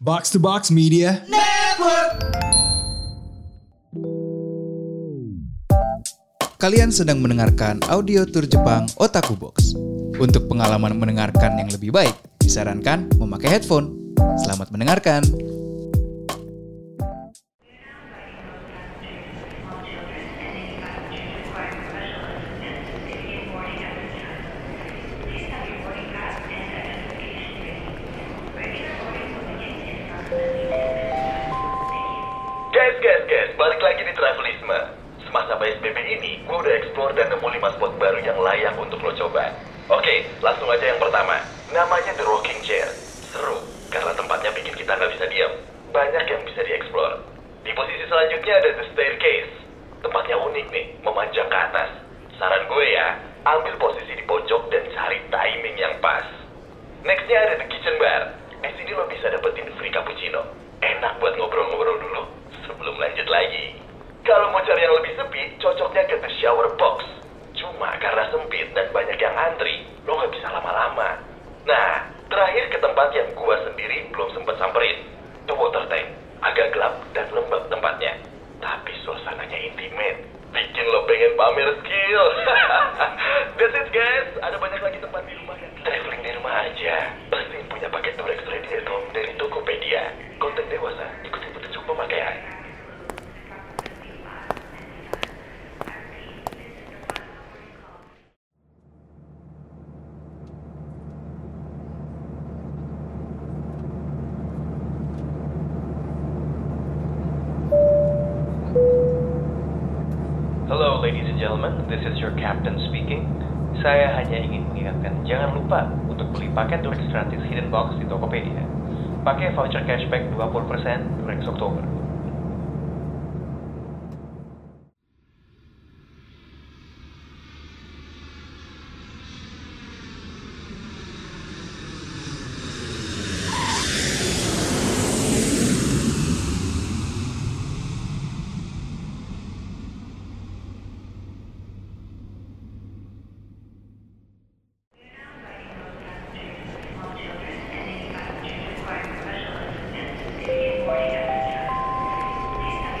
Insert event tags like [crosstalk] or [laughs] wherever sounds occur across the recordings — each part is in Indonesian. Box to Box Media. Kalian sedang mendengarkan audio tour Jepang Otaku Box. Untuk pengalaman mendengarkan yang lebih baik, disarankan memakai headphone. Selamat mendengarkan. Guys, guys, guys, balik lagi di Travelisme. Semasa PSBB ini, gue udah explore dan nemu 5 spot baru yang layak untuk lo coba. Oke, langsung aja yang pertama. Namanya The Rocking Chair. Seru, karena tempatnya bikin kita nggak bisa diam. Banyak yang bisa dieksplor. Di posisi selanjutnya ada The Staircase. Tempatnya unik nih, memanjang ke atas. Saran gue ya, ambil posisi di pojok dan cari timing yang pas. Nextnya ada The Kitchen Bar. Di sini lo bisa dapetin free cappuccino. Enak buat ngobrol-ngobrol dulu sebelum lanjut lagi. Kalau mau cari yang lebih sepi, cocoknya ke The Shower Box. Cuma karena sempit dan banyak yang antri, lo nggak bisa lama-lama. Nah, terakhir ke tempat yang gua sendiri belum sempat samperin. The Water Tank. Agak gelap dan lembab tempatnya. Tapi suasananya intimate. Bikin lo pengen pamer skill. [laughs] That's it guys. Ada banyak lagi tempat di rumah yang traveling di rumah aja. Pasti punya paket Torex Ready at Home dari Tokopedia. Konten dewasa. Ikuti petunjuk pemakaian. Hello, ladies and gentlemen. This is your captain speaking. Saya hanya ingin mengingatkan, jangan lupa untuk beli paket Durex gratis Hidden Box di Tokopedia. Pakai voucher cashback 20% Durex Oktober.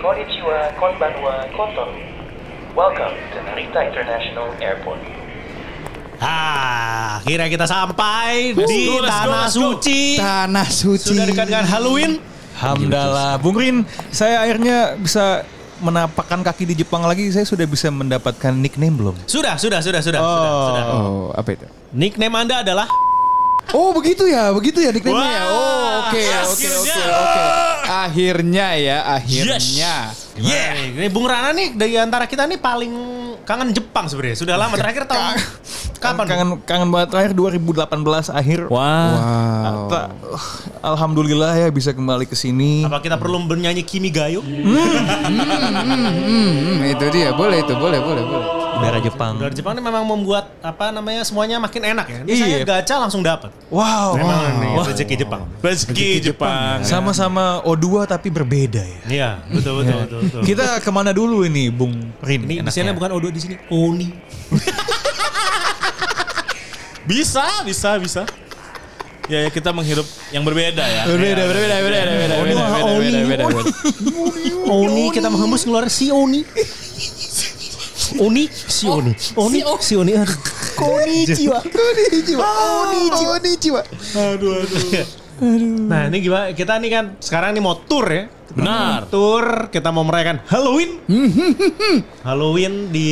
Konnichiwa, konbanwa, kontoru. Welcome to Narita International Airport. Ah, kira kita sampai di go, let's go, tanah let's go. suci. Tanah suci. Sudah dekat dengan Halloween. Alhamdulillah. Bung Rin, saya akhirnya bisa menapakkan kaki di Jepang lagi. Saya sudah bisa mendapatkan nickname belum? Sudah, sudah, sudah, sudah, sudah, sudah. Oh, apa itu? Nickname Anda adalah Oh, begitu ya, begitu ya nickname-nya ya. Wah, Oh, oke, oke, akhirnya. oke, oke. Akhirnya ya, akhirnya. Yeah. Ini Bung Rana nih dari antara kita nih paling kangen Jepang sebenarnya. Sudah Iya. lama terakhir tahun kapan? Bung? Kangen kangen banget terakhir 2018 akhir. Wah. Wow. Ta- uh, Alhamdulillah ya bisa kembali ke sini. Apa kita perlu bernyanyi Kimi Gayo? Hmm, itu dia. Boleh itu, boleh, boleh, boleh. Udara Jepang. Dari Jepang ini memang membuat apa namanya semuanya makin enak ya. Ini saya Iya. gacha langsung dapat. Wow. Memang nih rezeki Jepang. Rezeki Jepang. Sama-sama O2 tapi berbeda ya. Iya, betul betul betul. betul. Kita kemana dulu ini, Bung Rin? Ini di enaknya? sana bukan Odo di sini, [laughs] Oni. Bisa, bisa, bisa. Ya, ya kita menghirup yang berbeda ya. Berbeda, Ya. berbeda, berbeda, berbeda, Oni, berbeda, berbeda, Oni, berbeda, berbeda, berbeda. Oni kita menghembus ngeluarin si Oni. Oni, Oh, si Oni. Oni, si Oni. Konnichiwa. Konnichiwa. Ah. Konnichiwa. Konnichiwa. Nah, ini gimana? Kita nih kan sekarang nih mau tour ya. Kita Benar. mau Tour, kita mau merayakan Halloween. Halloween di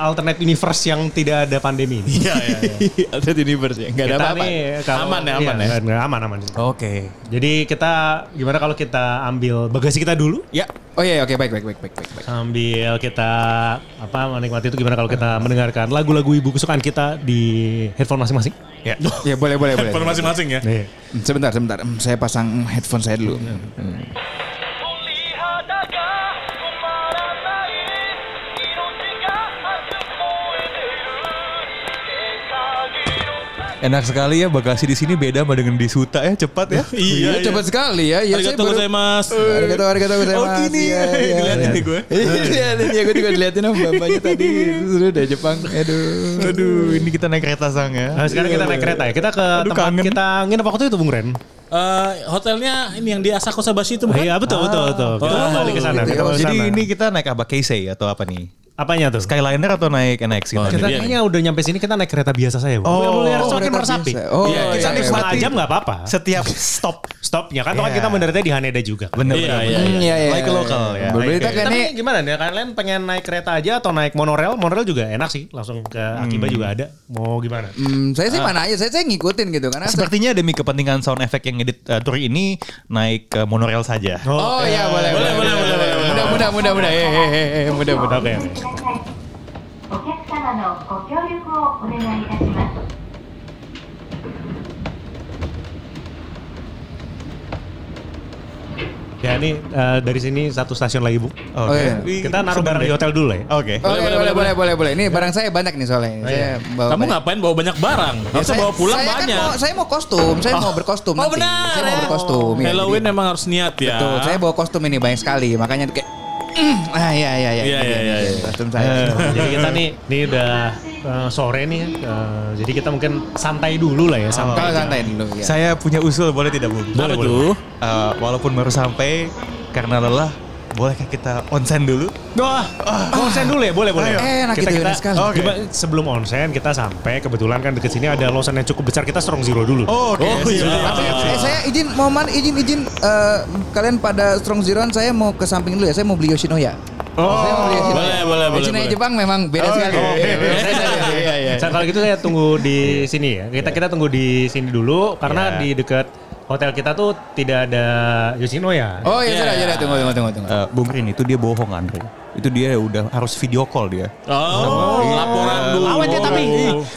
alternate universe yang tidak ada pandemi ini. Iya, iya, iya. Alternate universe ya, nggak ada Kita apa-apa. nih kalau- Aman ya, aman iya, ya. nggak- Aman, aman. Oke. Jadi kita gimana kalau kita ambil bagasi kita dulu? Ya. Oh iya, oke, baik, baik, baik, baik, baik. baik. Sambil kita apa menikmati itu gimana kalau kita mendengarkan lagu-lagu ibu kesukaan kita di headphone masing-masing? Iya. Ya, Ya. boleh, boleh, boleh. Handphone masing-masing ya. Nih. Hmm, Sebentar, sebentar. Hmm, Saya pasang headphone saya dulu. Enak sekali ya bagasi di sini beda sama dengan di Suta ya, cepat ya. Iya, Iya, cepat sekali ya. Ya, saya Arigatou baru- gozaimasu. Arigato, arigato gozaimasu. Oh, gini ya. Dilihatin nih [laughs] gue. Iya, Dilihatin ya, gue juga dilihatin sama bapaknya tadi. Sudah dari Jepang. Aduh. Aduh, ini kita naik kereta sang ya. Nah, Nah, sekarang kita naik kereta ya. Kita ke Aduh, tempat kangen. kita nginep waktu itu Bung Ren. eh, oh, hotelnya ini yang di Asakusabashi itu Oh, bukan? Iya betul betul betul. Kita Oh, kembali ke sana. gitu kita ya. kembali ke Jadi sana. ini kita naik apa Keisei atau apa nih? apanya tuh? Skyliner atau naik NX gitu? Oh, Kita dia kayaknya udah nyampe sini kita naik kereta biasa saya. Bu. Oh, Mulai Arso ke kereta Merasapi. biasa. Oh, Iya, kita iya, iya. nikmati. Setengah jam nggak apa-apa. Setiap stop. Stopnya kan toh Iya. kita mendaratnya di Haneda juga. Bener Iya, bener, iya, bener. iya. Like local, ya. Berita Oke. kan Tapi nih. gimana nih kalian pengen naik kereta aja atau naik monorel? Monorel juga enak sih, langsung ke Akiba juga ada. Mau gimana? Hmm, saya sih mana aja, saya, saya ngikutin gitu karena Sepertinya demi kepentingan sound effect yang edit eh, tour ini naik eh, monorail saja. Oh iya boleh boleh boleh boleh boleh. Mudah mudah mudah mudah. Iya, Eh eh eh, eh mudah mudah. だよねお客様のご協力をお願いいたします。 Ya ini eh, dari sini satu stasiun lagi bu. Oke. Oh, iya. Kita naruh barang di hotel dulu ya. Oke. Oke, boleh, boleh, boleh, boleh, boleh. Ini barang saya banyak nih soalnya. Oh, saya iya. bawa Iya. Kamu banyak. ngapain bawa banyak barang? Ya, Harusnya bawa pulang saya kan banyak. mau, saya mau kostum, saya mau berkostum Oh nanti. benar. Saya mau ya. berkostum. ya, Halloween jadi- emang harus niat ya. Betul, saya bawa kostum ini banyak sekali, makanya kayak [clears throat] Mm, ah ya ya ya. Iya, ini, iya, ini, iya, ini, iya. Kostum saya. Eh, jadi kita nih, ini udah eh, sore nih. ya. Eh, jadi kita mungkin santai dulu lah ya. Kalau Santai. santai dulu ya. Saya punya usul boleh tidak Bu? Apa tuh? Eh, walaupun baru sampai karena lelah, bolehkah kita onsen dulu? Wah, onsen dulu ya, boleh boleh. Enak gitu, enak sekali. Oke. Coba sebelum onsen kita sampai kebetulan kan deket sini ada losan yang cukup besar kita strong zero dulu. Oh, Oke. iya. Tapi Iya, saya, saya izin momen izin izin eh, kalian pada Strong Zero saya mau ke samping dulu ya. Saya mau beli Yoshinoya. Oh, saya mau beli Yoshinoya. Boleh, boleh, boleh, Yoshinoya boleh. Jepang memang beda sekali. Oke, Beda oke. [laughs] sekali. Iya, iya. Saya- Kalau gitu saya tunggu di sini ya. Kita kita tunggu di sini dulu karena Iya. di dekat hotel kita tuh tidak ada ya. Yoshinoya. Oh iya, sudah, sudah. Tunggu, tunggu, tunggu. tunggu. Eh, Bung Rin itu dia bohong Andre. Itu dia udah harus video call dia. Oh, Iya. laporan dulu. Lawan dia tapi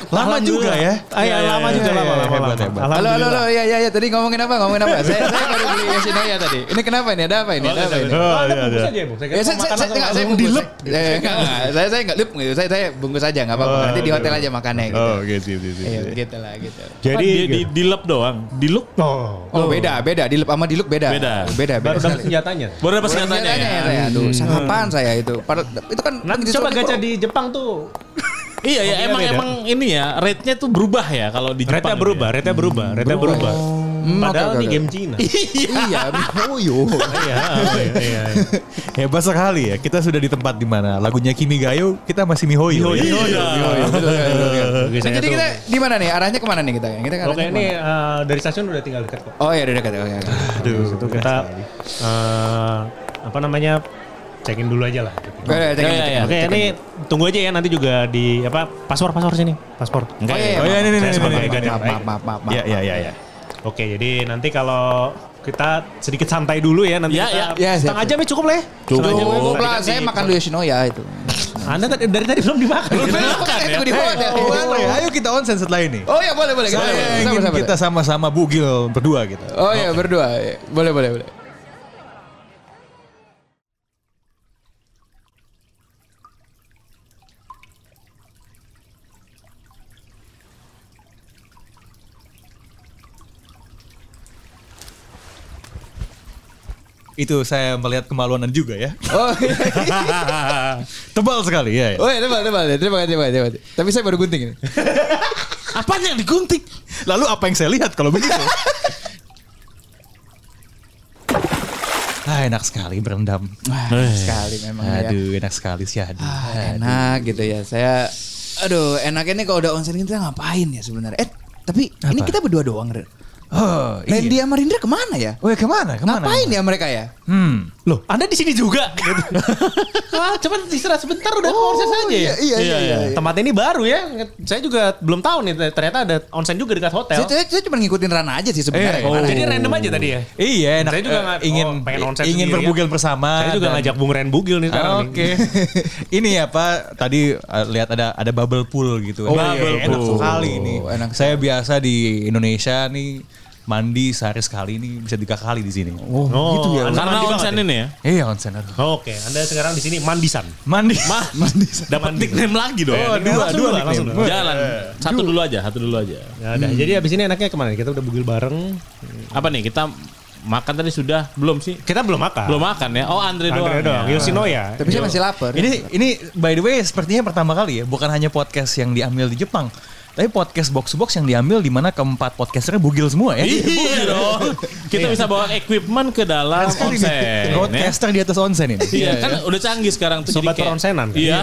Lama juga ya. Ah, iya, lama juga iya, lama iya, lama hebat, lama. hebat. Halo, halo, halo. Alhamdulillah. Iya, iya, iya. Tadi ngomongin apa? Ngomongin apa? saya, saya baru beli Yoshinoya tadi. Ini kenapa ini? Ada apa ini? Ada apa ini? Oh, Oh, Anda iya, bungkus iya. aja ya, Bu. Saya Ya, saya, saya, saya, enggak, saya bungkus. Dilep. Saya, enggak, enggak. saya, saya enggak lip gitu. Saya, saya bungkus aja, enggak apa-apa. Nanti di hotel aja makannya gitu. Oh, gitu gitu. Iya, gitu lah, gitu. Jadi Jadi di, di, di lap doang. Di look Oh, Oh, beda, beda. Dilep sama diluk beda. Beda. Beda, Eh, beda baru dapat sekali. senjatanya. baru dapat Baru senjatanya. senjatanya ya? ya, saya. Aduh, sangat apaan saya itu. Padahal- Itu kan Nanti coba gajah di Jepang tuh. Iya ya, emang beda. emang ini ya, rate-nya tuh berubah ya kalau di Jepang. Rate-nya gitu berubah, ya. rate-nya iya. berubah, rate-nya berubah. Hmm, Padahal oke, ini oke, game oke. Cina. [laughs] Iya, oh yo. [laughs] Iya, iya, iya. Hebat sekali ya. Kita sudah di tempat di mana lagunya Kimi Gayo, kita masih mihoyo. ya. Iya. Oh, Oke, saya Jadi tuh- kita di mana nih? Arahnya kemana nih kita? Kita Oke, arahnya ini kemana? eh, dari stasiun udah tinggal dekat kok. Oh iya, udah dekat. Oke, oke. Aduh, itu kita eh, apa namanya? Cekin dulu aja lah. Oke, oke, cek Iya, ini, iya, cek ini. iya. Oke, ini tunggu aja ya nanti juga di apa paspor paspor sini paspor. Oh iya, Oh iya, ini, ini, Saya ini, sebagai ini, ini. guardian maaf, baik. maaf, maaf, maaf, maaf. Ya, ya, ya, ya. Oke, jadi nanti kalau kita sedikit santai dulu ya nanti Ya, kita ya. Ya, siap, setengah siap. jam ya cukup lah ya. Cukup Setengah jam. lah, saya makan dulu Yoshinoya itu. Anda tadi- dari tadi belum dimakan. Iya. kan, Makan ya? Di hotel. Oh, Andre, ayo kita onsen setelah ini. Oh iya, boleh, boleh. Saya ingin kita sama-sama bugil berdua kita. Oh iya, berdua. iya. Boleh, boleh, boleh. Itu saya melihat kemaluan Anda juga [laughs] ya. Oh iya. Tebal sekali ya. ya. Oh iya, tebal, tebal. Terima kasih, terima kasih, terima kasih. Tapi saya baru gunting ini. Apanya yang digunting? Lalu apa yang saya lihat kalau begitu? ah, enak sekali berendam. Ah, Wah, sekali memang ya. Eh. Aduh, enak sekali sih aduh. Ah, enak gitu ya. Saya aduh, enaknya nih kalau udah onsen kita ngapain ya sebenarnya? Eh, tapi ini Apa? kita berdua doang, Ren. Oh, iya. Randy sama Rindra kemana ya? Weh, kemana? Kemana? Ngapain ya mereka ya? Hmm. Loh, Anda di sini juga. Gitu. ah, cuman istirahat sebentar udah ke onsen saja. iya, iya, iya, iya, iya. Tempat ini baru ya. Saya juga belum tahu nih ternyata ada onsen juga dekat hotel. Oh, Saya, saya, saya cuma ngikutin Rana aja sih sebenarnya. Eh, kemana Jadi ya. random aja tadi ya. Iya, enak. Saya juga Eh, nggak- ingin oh, pengen onsen ingin sendiri ya. berbugil bersama. Saya juga dan- ngajak Bung Ren Bugil nih sekarang. nih. Oke. [laughs] ini ya Pak, tadi uh, lihat ada ada bubble pool gitu. Oh, Nah, bubble enak pool. sekali ini. Enak Saya biasa di Indonesia nih mandi sehari sekali ini bisa tiga kali di sini. Oh, Oh, gitu ya. Anda Karena mandi banget onsen ya? ini ya. Iya onsen aduh. Oke, Anda sekarang di sini mandisan. Mandi. [laughs] mandi. Dapat Nickname lagi dong. Oh, dua, ya. Langsung dua, dua, langsung nickname. dua. Jalan. Satu dulu aja, satu dulu aja. Ya udah, jadi abis ini enaknya kemana? nih? Kita udah bugil bareng. Apa nih kita makan tadi sudah belum sih? Kita belum makan. Belum makan ya? Oh Andre doang. Andre doang. Iya. ya. Yoshinoya. Tapi saya masih lapar. Ini ini by the way sepertinya pertama kali ya, bukan hanya podcast yang diambil di Jepang. Tapi podcast box to box yang diambil di mana keempat podcasternya bugil semua ya. Iya dong. Kita bisa bawa equipment ke dalam Kan Sekali nih, onsen. ya. Broadcaster di atas onsen ini. Iya kan udah canggih sekarang tuh. Sobat jadi kayak- peronsenan, kan? Iya.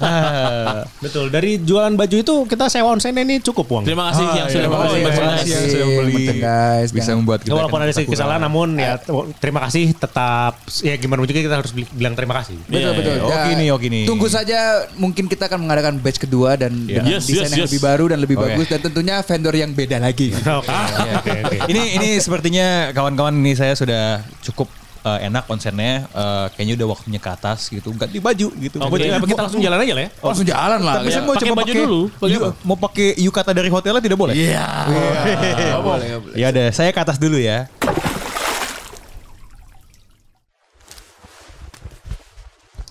Ah, betul. Dari jualan baju itu kita sewa onsennya ini cukup uang. Terima kasih yang sudah terima Oh, iya, mau kasih, Iya. terima merchandise. kasih yang sudah membeli. Mantap, guys. Bisa membuat kita kan. Walaupun akan ada ketakutan. kesalahan namun ya t- terima kasih tetap ya gimana pun juga kita harus bi- bilang terima kasih. Betul Iya, betul. iya. Oke Dan nih, oke nih. Iya. Tunggu saja mungkin kita akan mengadakan batch kedua dan dengan Yes, desain yes, yang yes. lebih baru dan lebih Oke. bagus dan tentunya vendor yang beda [laughs] lagi. Iya. Oke, oke, oke. ini ini sepertinya kawan-kawan ini saya sudah cukup eh, enak konsennya Eh, kayaknya udah waktunya ke atas gitu ganti baju gitu Oke. Apa Gua- apa kita langsung jalan aja lah ya. Oh, langsung jalan lah. Tapi Iya. saya mau Pakai coba baju pakai- dulu. Pakai Yu- mau pakai yukata dari hotelnya tidak boleh Iya. Nggak boleh, nggak boleh. ya udah saya ke atas dulu ya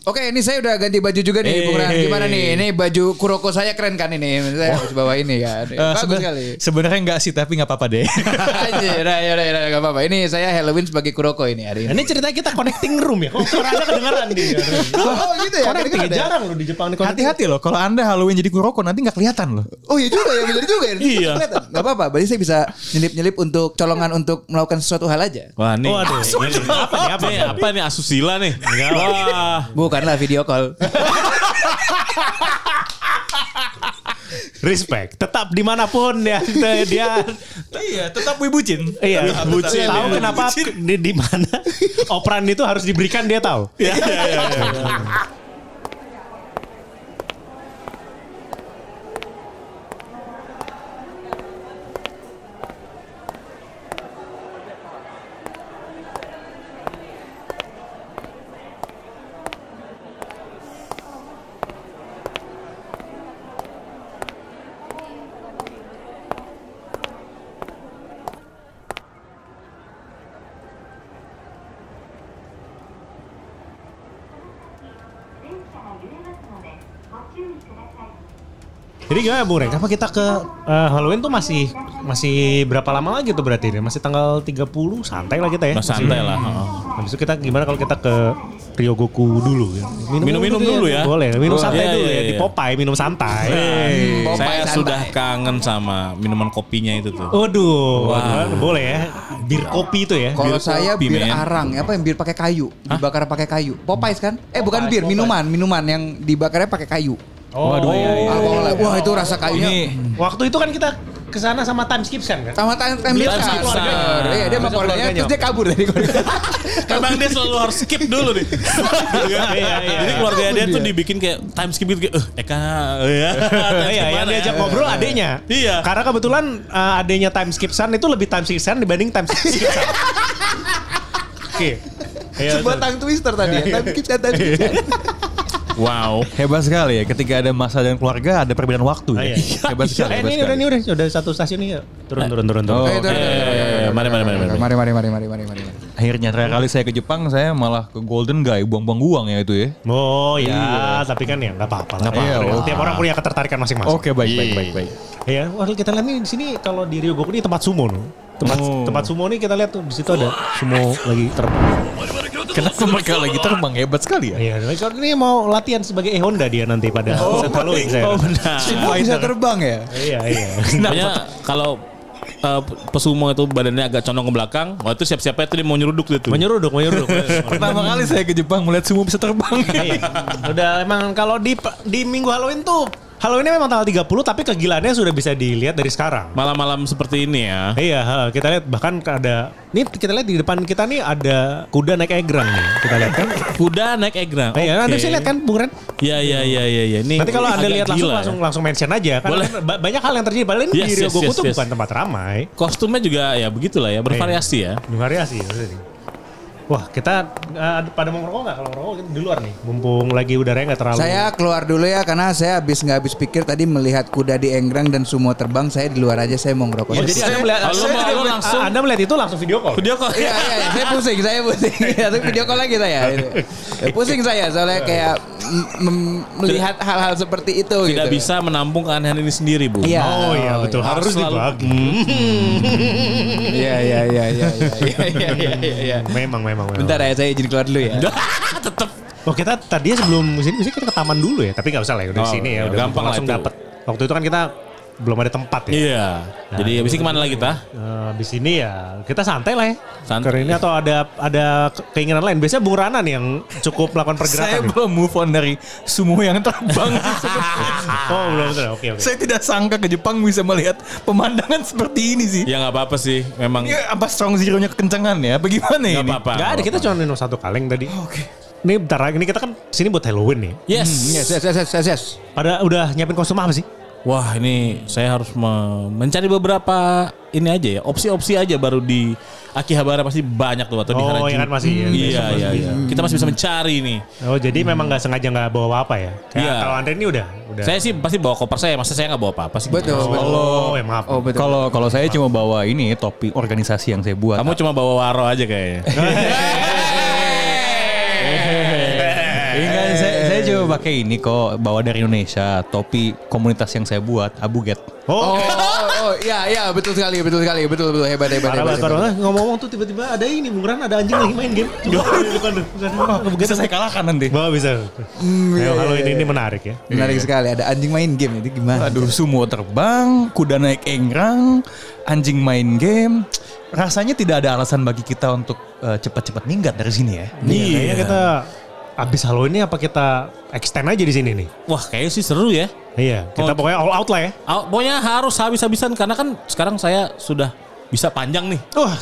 Oke, ini saya udah ganti baju juga nih, Bung Ran. Gimana nih? Ini baju kuroko saya keren kan ini? Saya harus bawa ini kan. Eh, Bagus seben- sekali. sebenarnya enggak sih tapi nggak apa-apa deh Anjir, nah, ya udah, ya udah, nggak apa-apa. Ini saya Halloween sebagai kuroko ini hari ini. Ini ceritanya kita connecting room ya. Kok suara anda kedengeran nih? Oh, gitu ya? Connecting Kedengeran ya? jarang loh di Jepang ini connecting. hati-hati loh kalau anda Halloween jadi kuroko nanti nggak kelihatan loh Oh iya juga ya, benar juga ya. Iya. Gak apa-apa, berarti saya bisa nyelip-nyelip untuk colongan untuk melakukan sesuatu hal aja. Wah nih. Waduh, [laughs] ini apa nih? Iya, Apa Apa nih? nih? Apa nih asusila nih? Wah. Bukanlah video call. Respect. Tetap dimanapun ya kita- dia iya tetap wibucin Iya, bucin, tahu iya. kenapa di, di mana operan itu harus diberikan dia tahu. Iya iya iya. Jadi gimana Bung Reng? Apa kita ke eh, Halloween tuh masih masih berapa lama lagi tuh berarti? Masih tanggal 30 santai lah kita ya. Mas santai lah. heeh. Habis itu kita gimana kalau kita ke Ryogoku dulu ya? Minum-minum dulu ya. Boleh, minum Boleh. santai Iya, dulu iya, ya. Di iya. Popeye minum santai. Iya. Hey, Popeye saya santai. sudah kangen sama minuman kopinya itu tuh. Waduh, Wah. boleh ya. Bir kopi itu ya. Kalau saya kopi, bir men. arang, ya, apa yang bir pakai kayu, dibakar pakai kayu. Popeyes kan? Eh bukan Popeyes, bir, Popeyes. minuman, minuman yang dibakarnya pakai kayu. Oh, Waduh, iya, iya. Alkohol. Wah, itu rasa kayunya. ini Waktu itu kan kita ke sana sama time skip kan? Sama time time Beli dia sama kan. keluarganya. Iya, dia Sama sama keluarganya keluarganya. terus dia kabur dari keluarga. Emang dia selalu harus skip dulu nih. iya, iya. Jadi keluarga dia tuh dibikin kayak time skip gitu. kayak, Eh, Eka, ya. time Iya, skip yang mana diajak ya? ngobrol adenya. Iya. Karena kebetulan eh, adenya time skip san itu lebih time skip san dibanding time skip san. [laughs] Oke. Iya, Sebuah betul. tang twister tadi ya. Time skip time skip. Wow. hebat sekali ya ketika ada masa dan keluarga ada perbedaan waktu Ah, ya. iya. [laughs] hebat sekali Eh, hebat ini udah sekali. ini udah udah satu stasiun ya? nih. Turun turun turun turun. Oh, Eh, itu, Oke, itu, itu, itu, itu. mari mari mari mari. Mari mari mari mari mari mari. Akhirnya terakhir kali saya ke Jepang saya malah ke Golden Guy buang-buang uang ya itu ya. Oh ya, tapi kan ya nggak apa-apa lah. Nggak apa-apa. Iya, Iya, Tiap wah. orang punya ketertarikan masing-masing. Oke baik baik baik baik. Iya, wah kita lihat nih di sini kalau di Ryogoku ini tempat sumo loh. Tempat tempat sumo nih kita lihat tuh di situ ada sumo lagi terbang. Kenapa mereka lagi terbang hebat sekali ya? Iya, kalau ini mau latihan sebagai eh Honda dia nanti pada set Halloween saya. Oh benar. Semua Ah, bisa terbang ya? Iya, iya. Pokoknya kalau eh, pesumo itu badannya agak condong ke belakang, wah itu siap-siapnya itu dia mau nyeruduk dia tuh. Menyeruduk, [laughs] menyeruduk. Pertama kali saya ke Jepang melihat semua bisa terbang. Iya. Udah emang kalau di di minggu Halloween tuh Halloweennya memang tanggal 30 tapi kegilaannya sudah bisa dilihat dari sekarang. Malam-malam seperti ini ya. Iya, ha, kita lihat bahkan ada nih kita lihat di depan kita nih ada kuda naik egrang nih. Kita lihat [laughs] kan. Kuda naik egrang. Iya, nanti Oke. saya lihat kan Bung Ren. Iya iya iya iya iya. Ini Nanti kalau Anda agak lihat langsung gila ya. langsung langsung mention aja kan. Boleh. kan ba- banyak hal yang terjadi padahal ini Yes, di yes, Ryogoku yes, tuh yes. bukan tempat ramai. kostumnya juga ya begitulah ya, bervariasi ya. Ini variasi ya. maksudnya. Wah, kita eh, pada mau ngerokok nggak? Kalau ngerokok kita di luar nih. Mumpung lagi udaranya nggak terlalu. Saya keluar dulu ya karena saya habis nggak habis pikir tadi melihat kuda di enggrang dan sumo terbang saya di luar aja saya mau ngerokok. Oh, jadi Anda melihat, Kalau saya mau- tidak kalau melihat- Ah, langsung- Anda melihat itu langsung video call. Dia kok Iya iya iya. saya pusing, saya [laughs] pusing. Tapi video call lagi saya. Ya, pusing saya soalnya kayak m- m- melihat hal-hal seperti itu tidak gitu. bisa menampung keanehan ini sendiri, Bu. Iya. Oh iya betul harus, Harus selalu- dibagi. [laughs] Iya iya iya iya iya [laughs] iya iya iya. iya. Memang memang memang. Bentar ya saya izin keluar dulu ya. Tetap Oh kita tadi sebelum sini mesti kita ke taman dulu ya, tapi nggak usah lah ya udah Oh, di sini ya iya, udah gampang lah langsung itu. dapat. Waktu itu kan kita belum ada tempat ya. Iya. Jadi habis ini kemana lagi kita? Eh, Abis ini ya kita santai lah ya. Santai. Kali ini atau ada ada keinginan lain. Biasanya Bung Rana nih yang cukup melakukan ya? Saya pergerakan. nih. belum move on dari sumo yang [laughs] terbang. oh belum belum. Oke oke. saya tidak sangka ke Jepang bisa melihat pemandangan seperti ini sih. Ya nggak apa-apa sih, memang Ini apa strong zero-nya kekencangan ya? Bagaimana nggak ini? apa-apa. Gak ada kita cuma minum satu kaleng tadi. Oh, Oke. Ini bentar lagi ini kita kan sini buat Halloween nih. Yes. Hmm, Yes, yes, yes, yes, yes, yes. Pada udah nyiapin kostum apa sih? Wah ini saya harus me- mencari beberapa ini aja ya opsi-opsi aja baru di Akihabara pasti banyak tuh atau di Oh, Harajuku. iya kan, masih, iya, Hmm, besok masih iya iya, bisa. iya. Kita masih bisa mencari nih. Oh jadi memang nggak sengaja nggak bawa apa ya? Kayak Iya. kalau Andre ini udah udah. Saya sih pasti bawa koper saya, masa saya nggak bawa apa-apa sih. Betul, Oh, betul. ya maaf. Oh, betul. Kalau kalau saya cuma bawa ini topi organisasi yang saya buat. Kamu cuma bawa waro aja kayaknya. Eh, Enggak, Iya, saya, saya cuma pakai ini kok bawa dari Indonesia topi komunitas yang saya buat Abuget. Oh, Oh, oh, oh, iya, iya, betul sekali, betul sekali, betul, betul, hebat, hebat, Parah hebat. banget, parah hebat. banget. Ngomong-ngomong tuh tiba-tiba ada ini, Bung Ran ada anjing lagi main game. Bukan, bukan, bukan. Bisa saya kalahkan nanti. Wah bisa. Ayo, kalau ini, ini menarik ya. Menarik sekali, ada anjing main game, itu gimana? Aduh, sumo terbang, kuda naik engrang, anjing main game. Rasanya tidak ada alasan bagi kita untuk eh, cepat-cepat minggat dari sini ya. Iya. Kayaknya kita abis Halloween ini apa kita extend aja di sini nih? Wah kayaknya sih seru ya. Iya, kita Oh. pokoknya all out lah ya. Aw- Pokoknya harus habis-habisan karena kan sekarang saya sudah bisa panjang nih. Wah,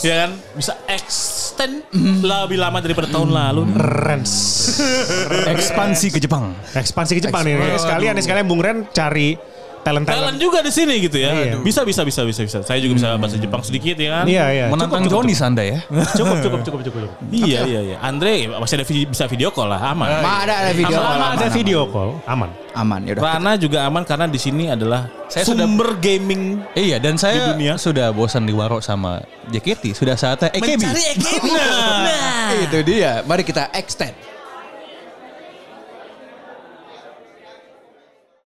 Ya kan? Bisa extend lebih lama daripada tahun lalu. Rens. Ekspansi ke Jepang. Eh, Ekspansi ke Jepang nih. Sekalian nih, sekalian Bung Ren cari talent talent. Talent juga di sini gitu ya. Iya. Mm-hmm. Bisa bisa bisa bisa bisa. Saya juga bisa bahasa Jepang sedikit ya kan. Iya, iya. Menantang Cukup, Joni Sanda ya. Cukup, cukup, cukup, cukup, cukup. Iya iya iya. Andre masih ada vid- bisa video call lah aman. Iya. Ma, ada, ada video, Aman, Selama aman, ada aman. video call, aman. Aman, yaudah. Rana juga aman karena di sini adalah Saya sudah- sumber gaming Iya, dan saya Di dunia. sudah bosan di Waro sama JKT. Sudah saatnya eh, EKB. eh, Mencari EKB. Itu dia, Nah, mari kita extend.